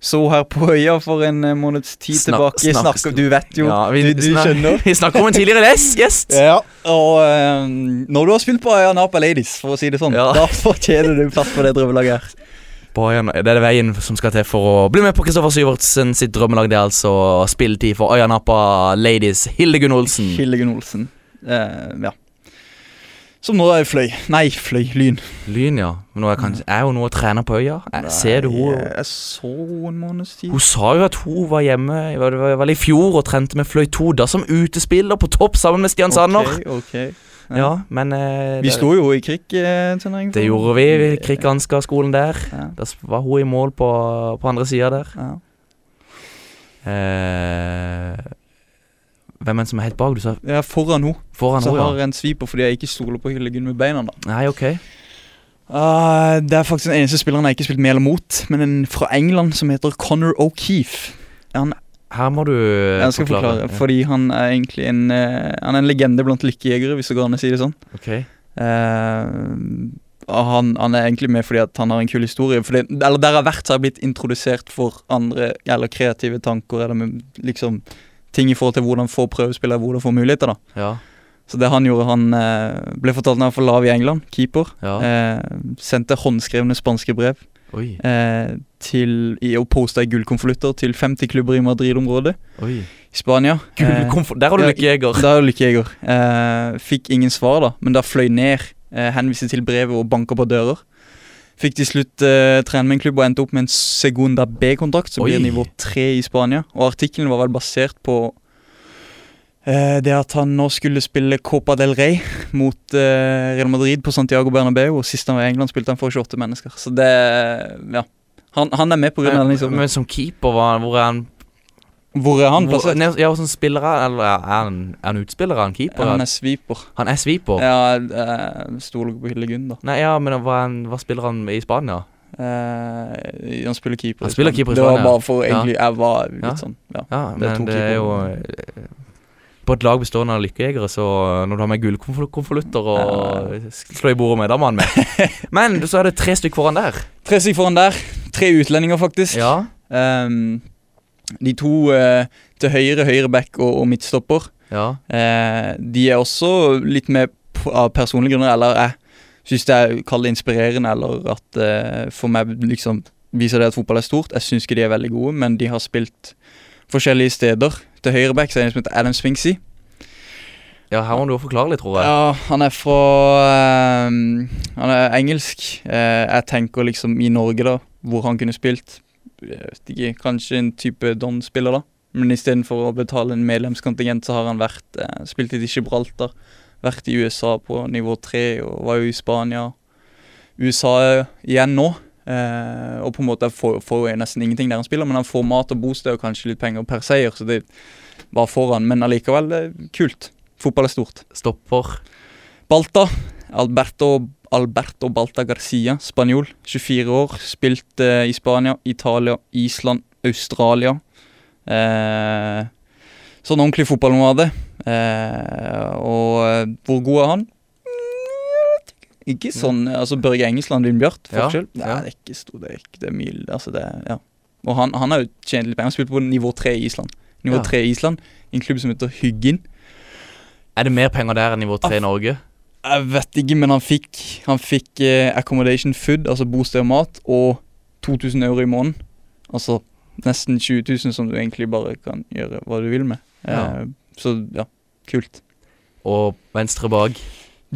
Så her på øya for en eh, måneds tid Snak- tilbake. Jeg snak- snakker, du vet jo. Ja, vi, du, du snak- skjønner. vi snakker om en tidligere les- gjest. Ja, og ehm, når du har spilt på Øya Napa Ladies, for å si det sånn, Ja. da fortjener du plass på det drømmelaget her. Bayern, det er det veien som skal til for å bli med på Kristoffer Syvertsen sitt drømmelag. Det er altså spilletid for Øyanappa Ladies Hildegunn Olsen. Hildegunn Olsen. Eh, ja. Som nå er fløy. Nei, fløy. Lyn. Lyn, ja. Men nå er, kanskje, er hun nå og trener på Øya? Er, ser du Nei, eh. hun Jeg så en måneds tid. Hun sa jo at hun var hjemme i- var det var vel i fjor og trente med Fløy Toda som utespiller på topp sammen med Stian Sanner. Ok, ok. Ja, men eh, Vi det- sto jo i krigsturnering. Det gjorde vi. vi Krikanska-skolen der. Ja. Da s- var hun i mål på, på andre sida der. Ja. Eh, hvem er det som er helt bak? Du sa Jeg er foran henne, foran så har henne, ja. jeg en sviper fordi jeg ikke stoler på Hyllegunn med beina. da Nei, ok. Ah, Det er faktisk den eneste spilleren jeg ikke har spilt med eller mot, men en fra England som heter Connor O'Keefe. Han, Her må du jeg skal forklare, fordi han er egentlig en eh, Han er en legende blant lykkejegere, hvis det går an å si det sånn. Ok. Eh, og han, han er egentlig med fordi at han har en kul historie. Fordi, eller Der jeg har vært, så har jeg blitt introdusert for andre Eller kreative tanker eller med- liksom ting i forhold til hvordan få prøvespillere, hvordan få muligheter. da Ja. Så det han gjorde, han eh, ble fortalt når han var for lav i England, keeper. ja. Eh, sendte håndskrevne spanske brev Oi. eh, til, i, og posta i gullkonvolutter til 50 klubber i Madrid-området Oi. i Spania. Eh, Gullkomfort. Der har du ja, lykkejeger. da er du lykkejeger. Eh, fikk ingen svar, da, men da fløy ned. Eh, henviste til brevet og banka på dører. Fikk til slutt eh, trene med en klubb og endte opp med en Segunda B-kontrakt, som blir Oi. nivå tre i Spania. Og artikkelen var vel basert på eh, det at han nå skulle spille Copa del Rey mot eh, Real Madrid på Santiago Bernabeu, og sist han var i England, spilte han for 28 mennesker. Så det Ja. Han, han er med pga. den historien. Men som keeper, hva- hvor er han Hvor er han hvor- plassert? Nei, Ja, hvordan spiller han? Eller er han, er han utspiller? Er han keeper? Han er sweeper. han er sweeper? Ja, eh, stoler på Hillegunn, da. Nei, ja, men hva, er han, hva spiller han i Spania? Eh, han spiller keeper. Han spiller keeper i Det var Spania. bare for Ja. egentlig Jeg var litt Ja. sånn ja. Ja, Det er men to det er jo keepere. eh, På et lag bestående av lykkejegere, så eh, når du har med gullkonvolutter og s- slår i bordet med, da må han med. Men så er det tre stykker foran der. Tre stykk foran der. Tre utlendinger, faktisk. Ja. Ehm, de to eh, til høyre, høyre back og, og midtstopper, ja. eh, de er også litt med p- av personlige grunner, eller jeg syns det er kall det inspirerende, eller at eh, for meg liksom viser det at fotball er stort. Jeg syns ikke de er veldig gode, men de har spilt forskjellige steder. Til høyre back så er det en som heter Adam Spinksy. Ja, her må du jo forklare litt, tror jeg. Ja, han er fra ehm, Han er engelsk. Eh, jeg tenker liksom i Norge, da, hvor han kunne spilt. Jeg vet ikke, Kanskje en type Don-spiller, da. Men istedenfor å betale en medlemskontingent, så har han vært eh, spilt i Gibraltar. Vært i USA på nivå tre, og var jo i Spania. USA igjen nå. Eh, og på en måte får, får jo nesten ingenting der han spiller, men han får mat og bosted og kanskje litt penger per seier, så det var foran. Men allikevel, eh, kult. Fotball er stort. Stopper. Balta. Alberto, Alberto Balta Garcia, spanjol. 24 år. Spilt eh, i Spania, Italia, Island, Australia. Eh, sånn ordentlig fotballnomade. Eh, og eh, hvor god er han? Mm, Ikke sånn altså Børge Engesland, Vindbjart, Mm. Ja, forskjell. Nei, ja. det er ikke stor, det er ikke det er mil, altså det er, ja. Og han, han er jo tjent litt penger. Han spilte på nivå 3 i Island. Nivå Ja. 3 i Island, i en klubb som heter Hyggin. Er det mer penger der enn nivå 3 i Norge? Jeg vet ikke, men han fikk, han fikk eh, accommodation food, altså bosted og mat, og 2000 euro i måneden. Altså nesten 20 000 som du egentlig bare kan gjøre hva du vil med. Ja. Eh, så ja, kult. Og venstre bak?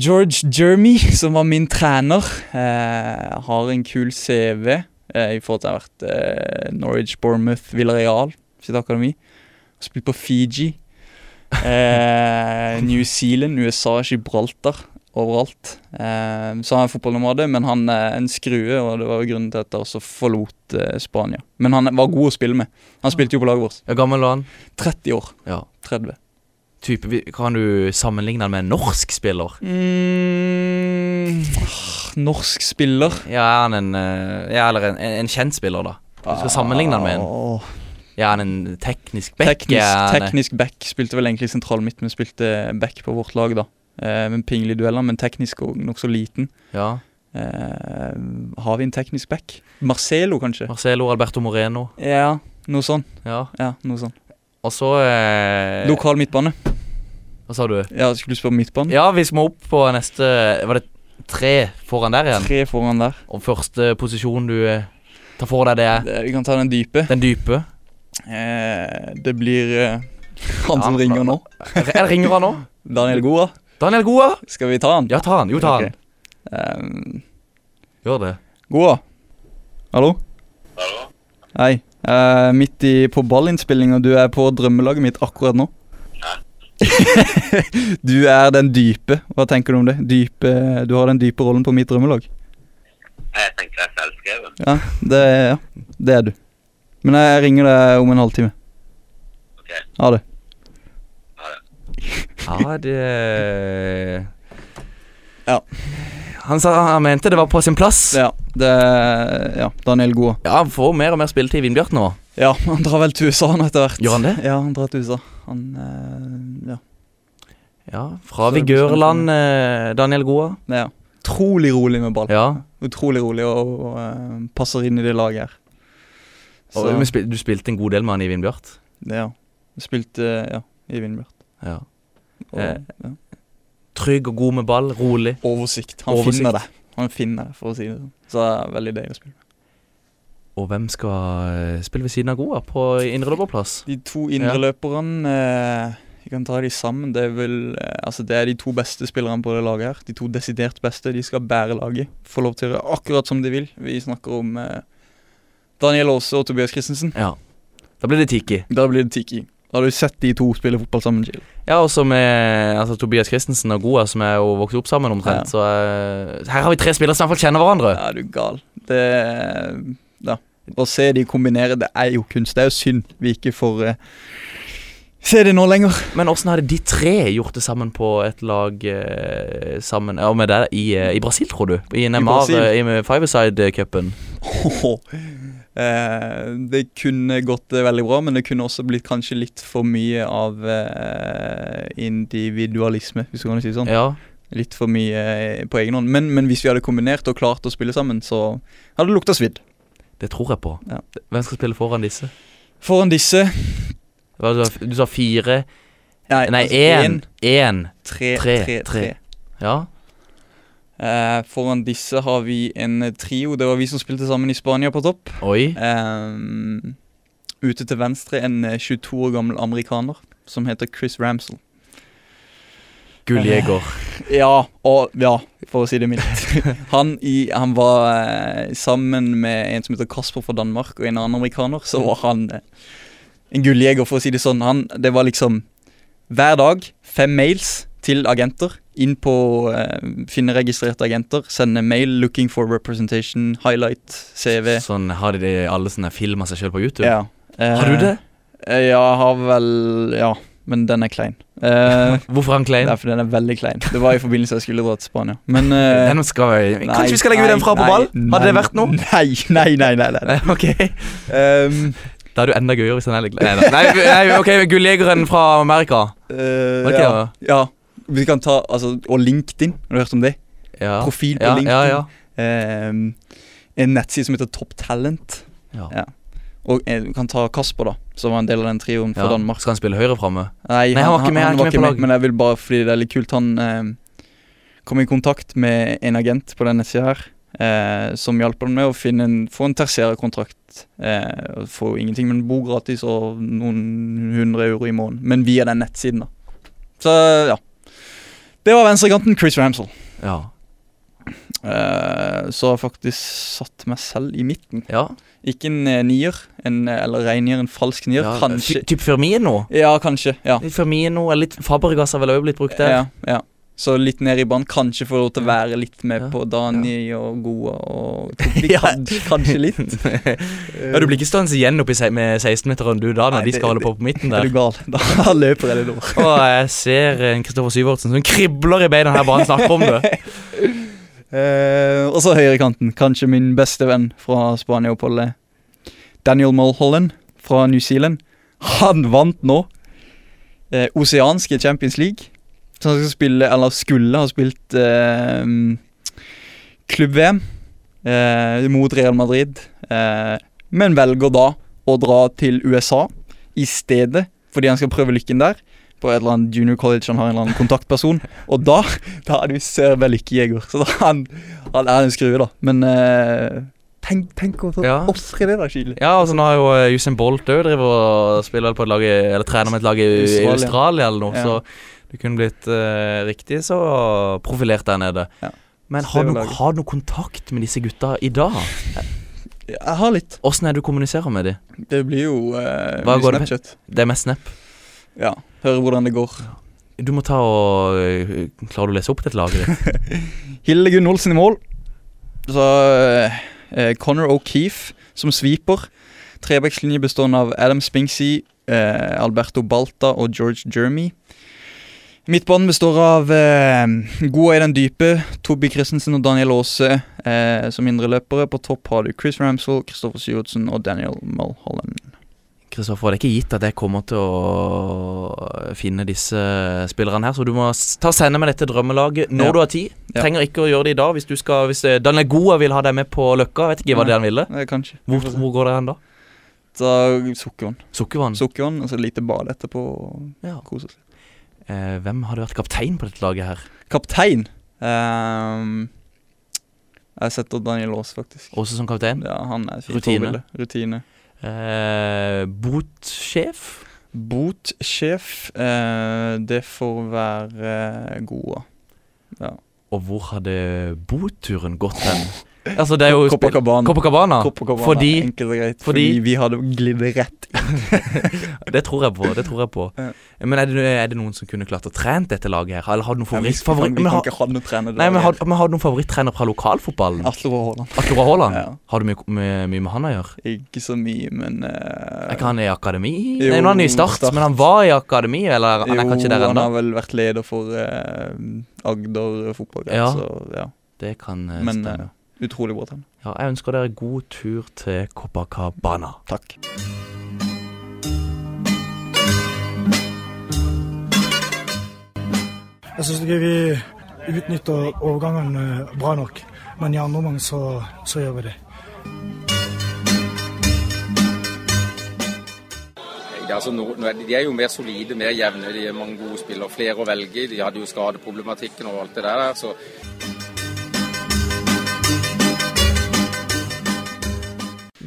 George Jeremy, som var min trener, eh, har en kul CV eh, i forhold til å ha vært eh, Norwich, Bournemouth, Villarreal sitt akademi. Har Spilt på Fiji, eh, New Zealand, USA, Gibraltar, overalt. Eh, så han er fotballnomade, men han er en skrue, og det var jo grunnen til at jeg også forlot eh, Spania. Men han var god å spille med. Han spilte jo på laget vårt. Ja, gammel var han? 30 år. Ja. 30. Type, vi- kan du sammenligne han med en norsk spiller? Mm, norsk spiller. Ja, er han en eh, Ja, eller en, en, en kjent spiller, da. Du skal sammenligne han med en. Ah, Åh. Ja, er han en teknisk back? Teknisk, Er han- teknisk back spilte vel egentlig sentral midt, men spilte back på vårt lag, da. Eh, men Pingle i dueller, men teknisk og nokså liten. Ja. Eh, har vi en teknisk back? Marcelo, kanskje? Marcelo Alberto Moreno. Ja, noe sånn. Ja. Ja, noe sånn. Og så eh, Lokal midtbane. Hva sa du? Ja, Skulle du spørre om midtbane? Ja, vi må opp på neste Var det tre foran der igjen? Tre foran der. Og første posisjon du eh, tar for deg, det er Eh, Vi kan ta den dype. den dype. Eh, det blir eh, han som Ja, ringer nå. Eller ringer han nå? Daniel Goa. Daniel Goa? Skal vi ta han? Ja, ta han. Jo, ta han. Ok. Eh, Gjør det. Goa. Hallo? Hei. eh, midt i på ballinnspilling, og du er på drømmelaget mitt akkurat nå. du er den dype. Hva tenker du om det? Dype, du har den dype rollen på mitt drømmelag. Jeg tenker det er selvskrevet. Ja, det, ja, det er du. Men jeg ringer deg om en halvtime. Ok. Ha det. Ja, det Ja. Han sa han mente det var på sin plass. Ja, det Ja, Daniel Goa. Ja, han får mer og mer spilletid i Vindbjart nå. Ja, han drar vel til USA nå etter hvert. Gjør han det? Ja, han drar til USA. Han eh, Ja. Ja, Fra Så det blir vigørland, eh, Daniel Goa. ja. Utrolig rolig med ball. Ja. Utrolig rolig og, og eh, passer inn i det laget her. Så, Og, men spil, du spilte en god del med han i Vindbjart. ja. Spilte eh, ja, i Vindbjart. Ja. Og, Eh. ja. Trygg og god med ball, rolig. Oversikt. Han Oversikt. finner det. Han finner det, for å si det sånn. Så det er veldig deilig å spille med. Og hvem skal eh, spille ved siden av Goa på indre løperplass? De to Ja. indreløperne eh, Vi kan ta de sammen. Det er vel eh, Altså, det er de to beste spillerne på det laget her. De to desidert beste. De skal bære laget. Få lov til å gjøre akkurat som de vil. Vi snakker om eh, Daniel Aase og Tobias Christensen. Ja. Da blir det Tiki. Da blir det Tiki. Har du sett de to spille fotball sammen, Jill? Ja, også med altså, Tobias Christensen og Goa, som er jo vokst opp sammen omtrent. Ja. Så eh, her har vi tre spillere som i hvert fall kjenner hverandre. Ja, du er gal. Det Ja. Å se de kombinere, det er jo kunst. Det er jo synd vi ikke får eh, se det nå lenger. Men åssen hadde de tre gjort det sammen på et lag eh, sammen Ja, med deg i, eh, i Brasil, tror du? I Neymar Brasil? eh, i Fiverside-cupen. Eh, det kunne gått eh, veldig bra, men det kunne også blitt kanskje litt for mye av eh, individualisme, hvis du kan si det sånn. Ja. Litt for mye eh, på egen hånd. Men, men hvis vi hadde kombinert og klart å spille sammen, så hadde det lukta svidd. Det tror jeg på. Ja. Hvem skal spille foran disse? Foran disse Hva Du sa- du sa fire Nei, altså, én. en, Én. tre, tre, tre, tre. tre. Ja. Eh, foran disse har vi en eh, trio. Det var vi som spilte sammen i Spania på topp. Oi. Ehm, ute til venstre en eh, 22 år gammel amerikaner som heter Chris Ramsell. Gulljeger. Ja, og ja, for å si det mildt. Han, i, han var eh, sammen med en som heter Kasper fra Danmark, og en annen amerikaner. Mm. Så var han eh, en gulljeger, for å si det sånn. Han, det var liksom hver dag fem mails til agenter. Inn på eh, finne registrerte agenter, sende mail 'looking for representation', highlight, CV. Sånn har de det i alle sånne filmer seg sjøl på YouTube. Ja. Eh, Har du det? Eh, Ja, jeg har vel Ja, men den er klein. Eh, Hvorfor er han det klein? er fordi den er veldig klein. Det var i forbindelse jeg skulle dra til Spania. Men eh, Den skal vi nei, Kanskje vi skal legge ut den fra på nei, ball? Hadde det nei, vært noe? Nei, nei, nei. nei, nei. Nei, Ok. Ehm, Da er du enda gøyere hvis han er litt Nei, da. nei, nei, ok, gulljegeren fra Amerika. eh, Var det ikke ja, ja. Vi kan ta altså, Og LinkedIn, har du hørt om det? Ja. profil på ja, LinkedIn. Ja, ja. Eh, en nettside som heter Top Talent. Ja. Og eh, du kan ta Kasper, da, som var en del av den trioen fra Ja. Danmark. Skal han spille høyre framme? Nei, han var ikke med, han er ikke med på lag. men jeg vil bare fordi det er litt kult. Han eh, kom i kontakt med en agent på den nettsida her, eh, som hjalp ham med å finne en, få en tertiærkontrakt. Eh, og få ingenting, men bo gratis og noen hundre euro i måneden. Men via den nettsiden, da. Så ja. Det var venstrekanten Chris Ramsell. Ja. Eh, så har jeg faktisk satt meg selv i midten. ja. Ikke en eh, nier, en, eh, eller reinnier, en falsk nier. ja. Kanskje. Ty- Typ Firmino? Ja, kanskje. Ja. Litt Firmino, eller litt Fabregas har vel også blitt brukt der? ja, ja. Så litt ned i banen. Kanskje få lov til å være litt med Ja, på Dani og Goa og Tobi. Ja. kanskje, kanskje litt. Ja, Du blir ikke stående igjen oppe i se- med 16-meteren du da, når Nei, de skal det- holde på på midten Er der. du gal? Da løper jeg litt over. Og jeg ser en Kristoffer Syvertsen som kribler i beina her bare han snakker om det. Eh, og så høyrekanten. Kanskje min beste venn fra Spania-oppholdet. Daniel Mulholland fra New Zealand. Han vant nå eh, oseanske Champions League. Så han skal spille, eller skulle ha spilt eh, mm, klubb-VM eh, mot Real Madrid. Eh, men velger da å dra til USA i stedet, fordi han skal prøve lykken der. På et eller annet junior college han har en eller annen kontaktperson. Og da, da er du server lykkejeger. Så da er han, han er en skrue, da. Men eh, tenk, tenk å Ja. ofre det, da, Chile. Ja, og så nå har jo eh, Usain Bolt òg drevet og spiller på et lag i, Eller trener med et lag i i Australia. Australia eller noe, Ja. så du kunne blitt eh, riktig så profilert der nede. Ja. Men Så har det du, er jo laget. har du noe kontakt med disse gutta i dag? Jeg har litt. Åssen er det du kommuniserer med dem? Det blir jo eh, Hva mye går det med? Snapchat. Det er mest snap. Ja. Høre hvordan det går. Du må ta og eh, Klarer du å lese opp dette laget ditt? Hildegunn Olsen i mål. Så eh, Connor O'Keefe som sweeper. Trebekslinje bestående av Adam Spinksy, eh, Alberto Balta og George Jeremy. Midtbanen består av eh, Goa i den dype, Tobi Christensen og Daniel Aase eh, som indreløpere. På topp har du Chris Ramsell, Kristoffer Syvertsen og Daniel Mulholland. Kristoffer, det er ikke gitt at jeg kommer til å eh, finne disse eh, spillerne her, så du må s- ta og sende meg dette drømmelaget når Ja. du har tid. Ja. Trenger ikke å gjøre det i dag hvis du skal Hvis eh, Daniel Goa vil ha deg med på Løkka, vet ikke hva det er han ville. Eh, kanskje. Hvor, hvor går det hen da? Så sukkervann. Sukkervann. Sukkervann, og så et lite bad etterpå. og Ja. kose oss. Eh, hvem hadde vært kaptein på dette laget her? Kaptein. Ehm, jeg setter Daniel Aas, faktisk. Også som kaptein? Ja, han er et fint Rutine. forbilde. Rutine. Eh, botsjef? Botsjef, eh, det får være eh, Goa. Og hvor hadde boturen gått hen? altså, det er jo spill- Copacabana. Copacabana. Copacabana, Fordi- enkelt og greit. Fordi, fordi- vi hadde glidd rett inn. Det tror jeg på. det tror jeg på Ja. Men er det, er det noen som kunne klart å trent dette laget her? Eller har du noen Men vi, favoritt... vi, kan, favoritt vi men, kan har, ikke ha noe trener. nei, men har, men har du noen favorittrener fra lokalfotballen? Atle Roar Haaland. Atle Roar Haaland? Ja. Har du mye, mye, mye med han å gjøre? Ikke så mye, men eh, Er ikke han i akademi? Jo, nei, nå er han i start, Start. men han var i akademi, eller han er kanskje der Jo, han ennå? har vel vært leder for eh, Agder fotballgreie, Ja. så ja. Det kan eh, Men stemme. eh, utrolig bra trener. Ja, jeg ønsker dere god tur til Copacabana. Takk. Jeg syns ikke vi utnytter overgangen eh, bra nok, men i andre omgang så, så gjør vi det. Ja, altså, nå, nå er de, de er jo mer solide, mer jevne. De er mange gode spillere, flere å velge i. De hadde jo skadeproblematikken og alt det der. Så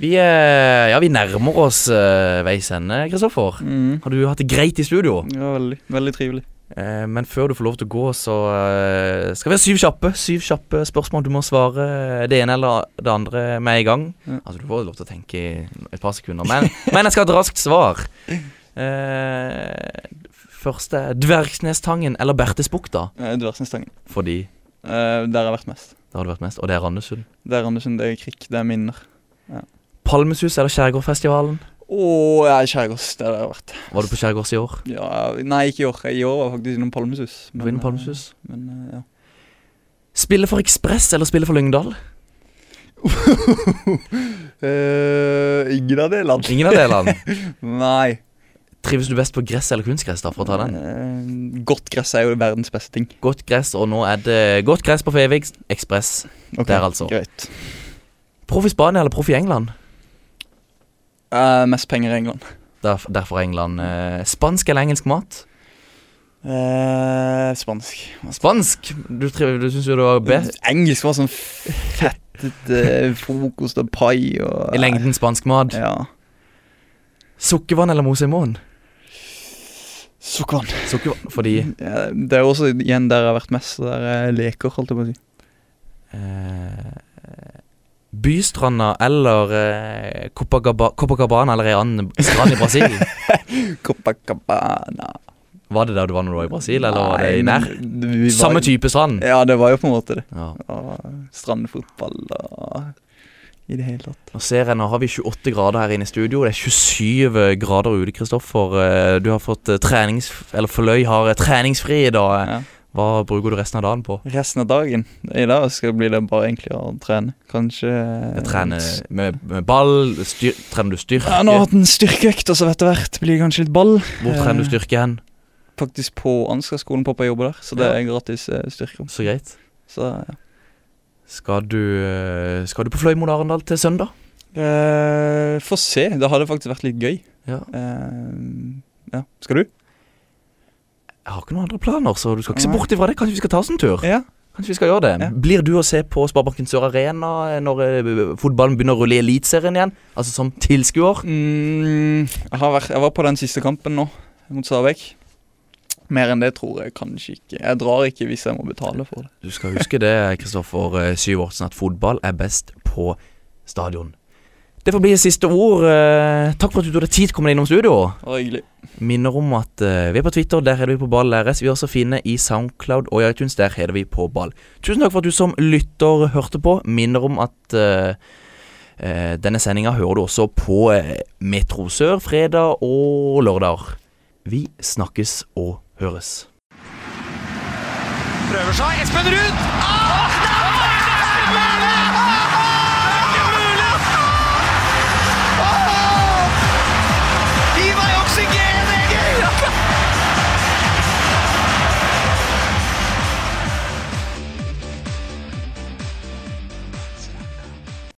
Vi, eh, ja, vi nærmer oss eh, veis ende, Kristoffer. Har du hatt det greit i studio? Ja, veldig, veldig trivelig. Eh, men før du får lov til å gå, så eh, skal vi ha syv kjappe Syv kjappe spørsmål. Du må svare eh, det ene eller det andre med en gang. Ja. Altså, du får lov til å tenke i et par sekunder, men, men jeg skal ha et raskt svar. Eh, første er Dvergsnestangen eller Bertesbukta, Eh, Dversenstangen. fordi Eh, der har jeg vært mest. det har det vært mest, og det er Randesund. Det er Andersen, det er Krik, det er minner. Palmesus eller Skjærgårdfestivalen? Å, jeg er skjærgårds, det har jeg vært. Var du på Skjærgårds i år? Ja, nei, ikke i år. I år var jeg faktisk innom Palmesus. Du var innom Palmesus. eh, Men, eh, ja. Spille for Ekspress eller spille for Lyngdal? Eh, ingen av delene. Ingen av delene. Nei. Trives du best på gress eller kunstgress? da, for å ta den? Eh, Godt gress er jo verdens beste ting. Godt gress, og nå er det godt gress på Fevik Ekspress. Ok, Der, altså. Greit. Proff i Spania eller proff i England? Eh, mest penger i England. Derf derfor England. Eh, spansk eller engelsk mat? Eh, spansk. Spansk! Du, triv- du syns jo det var best. Engelsk var sånn fettet eh, frokost og pai og I lengden spansk mat. Ja. Sukkervann eller moseimon? Sukkervann. Sukkervann fordi Ja, det er også igjen der jeg har vært mest, så der jeg leker, holdt jeg på å si. eh, Bystranda eller eh, Copacaba Copacabana eller ei annen strand i Brasil? Copacabana. Var det der du var når du var i Brasil, eller var det Nei, i men nær? vi var- Samme type strand? Ja, det var jo på en måte det. Ja. Og strandfotball og I det hele tatt. Nå ser jeg, nå har vi 28 grader her inne i studio. Det er 27 grader ute, Kristoffer. Eh, Du har fått eh, trenings... Eller Forløy har eh, treningsfri i dag. Ja. Hva bruker du resten av dagen på? Resten av dagen i dag skal det bli det bare egentlig å trene. Kanskje Jeg trener med, med ball. Styr, trener du styrke? Eh, Ja, nå har jeg hatt en styrkeøkt, og så vet du hvert blir det kanskje litt ball. Hvor trener du styrke hen? Faktisk på Ansgar-skolen. Pappa jobber der, så det Ja. er gratis eh, styrkerom. Så greit. Så ja. Skal du, eh, skal du på Fløymoen Arendal til søndag? Eh, Få se. Det hadde faktisk vært litt gøy. Ja. Eh, ja. Skal du? Jeg har ikke noen andre planer, så du skal ikke se Nei. bort ifra det. Kanskje vi skal ta oss en tur? Ja. Kanskje vi skal gjøre det. Ja. Blir du å se på Sparebanken Sør Arena eh, når eh, fotballen begynner å rulle i Eliteserien igjen? Altså som tilskuer? Mm, jeg, har vært, jeg var på den siste kampen nå, mot Stabæk. Mer enn det tror jeg kanskje ikke. Jeg drar ikke hvis jeg må betale for det. Du skal huske det, Kristoffer eh, Syvertsen, at fotball er best på stadion. Det får bli siste ord. Eh, Takk for at du tok deg tid til å komme deg innom studio. Det var hyggelig. Minner om at eh, vi er på Twitter, der heter vi på ball RS. Vi er også fine i Soundcloud og i iTunes, der heter vi på ball. Tusen takk for at du som lytter hørte på. Minner om at eh, eh, denne sendinga hører du også på eh, Metro Sør fredag og lørdag. Vi snakkes og høres. Prøver seg. Espen Ruud! Ah!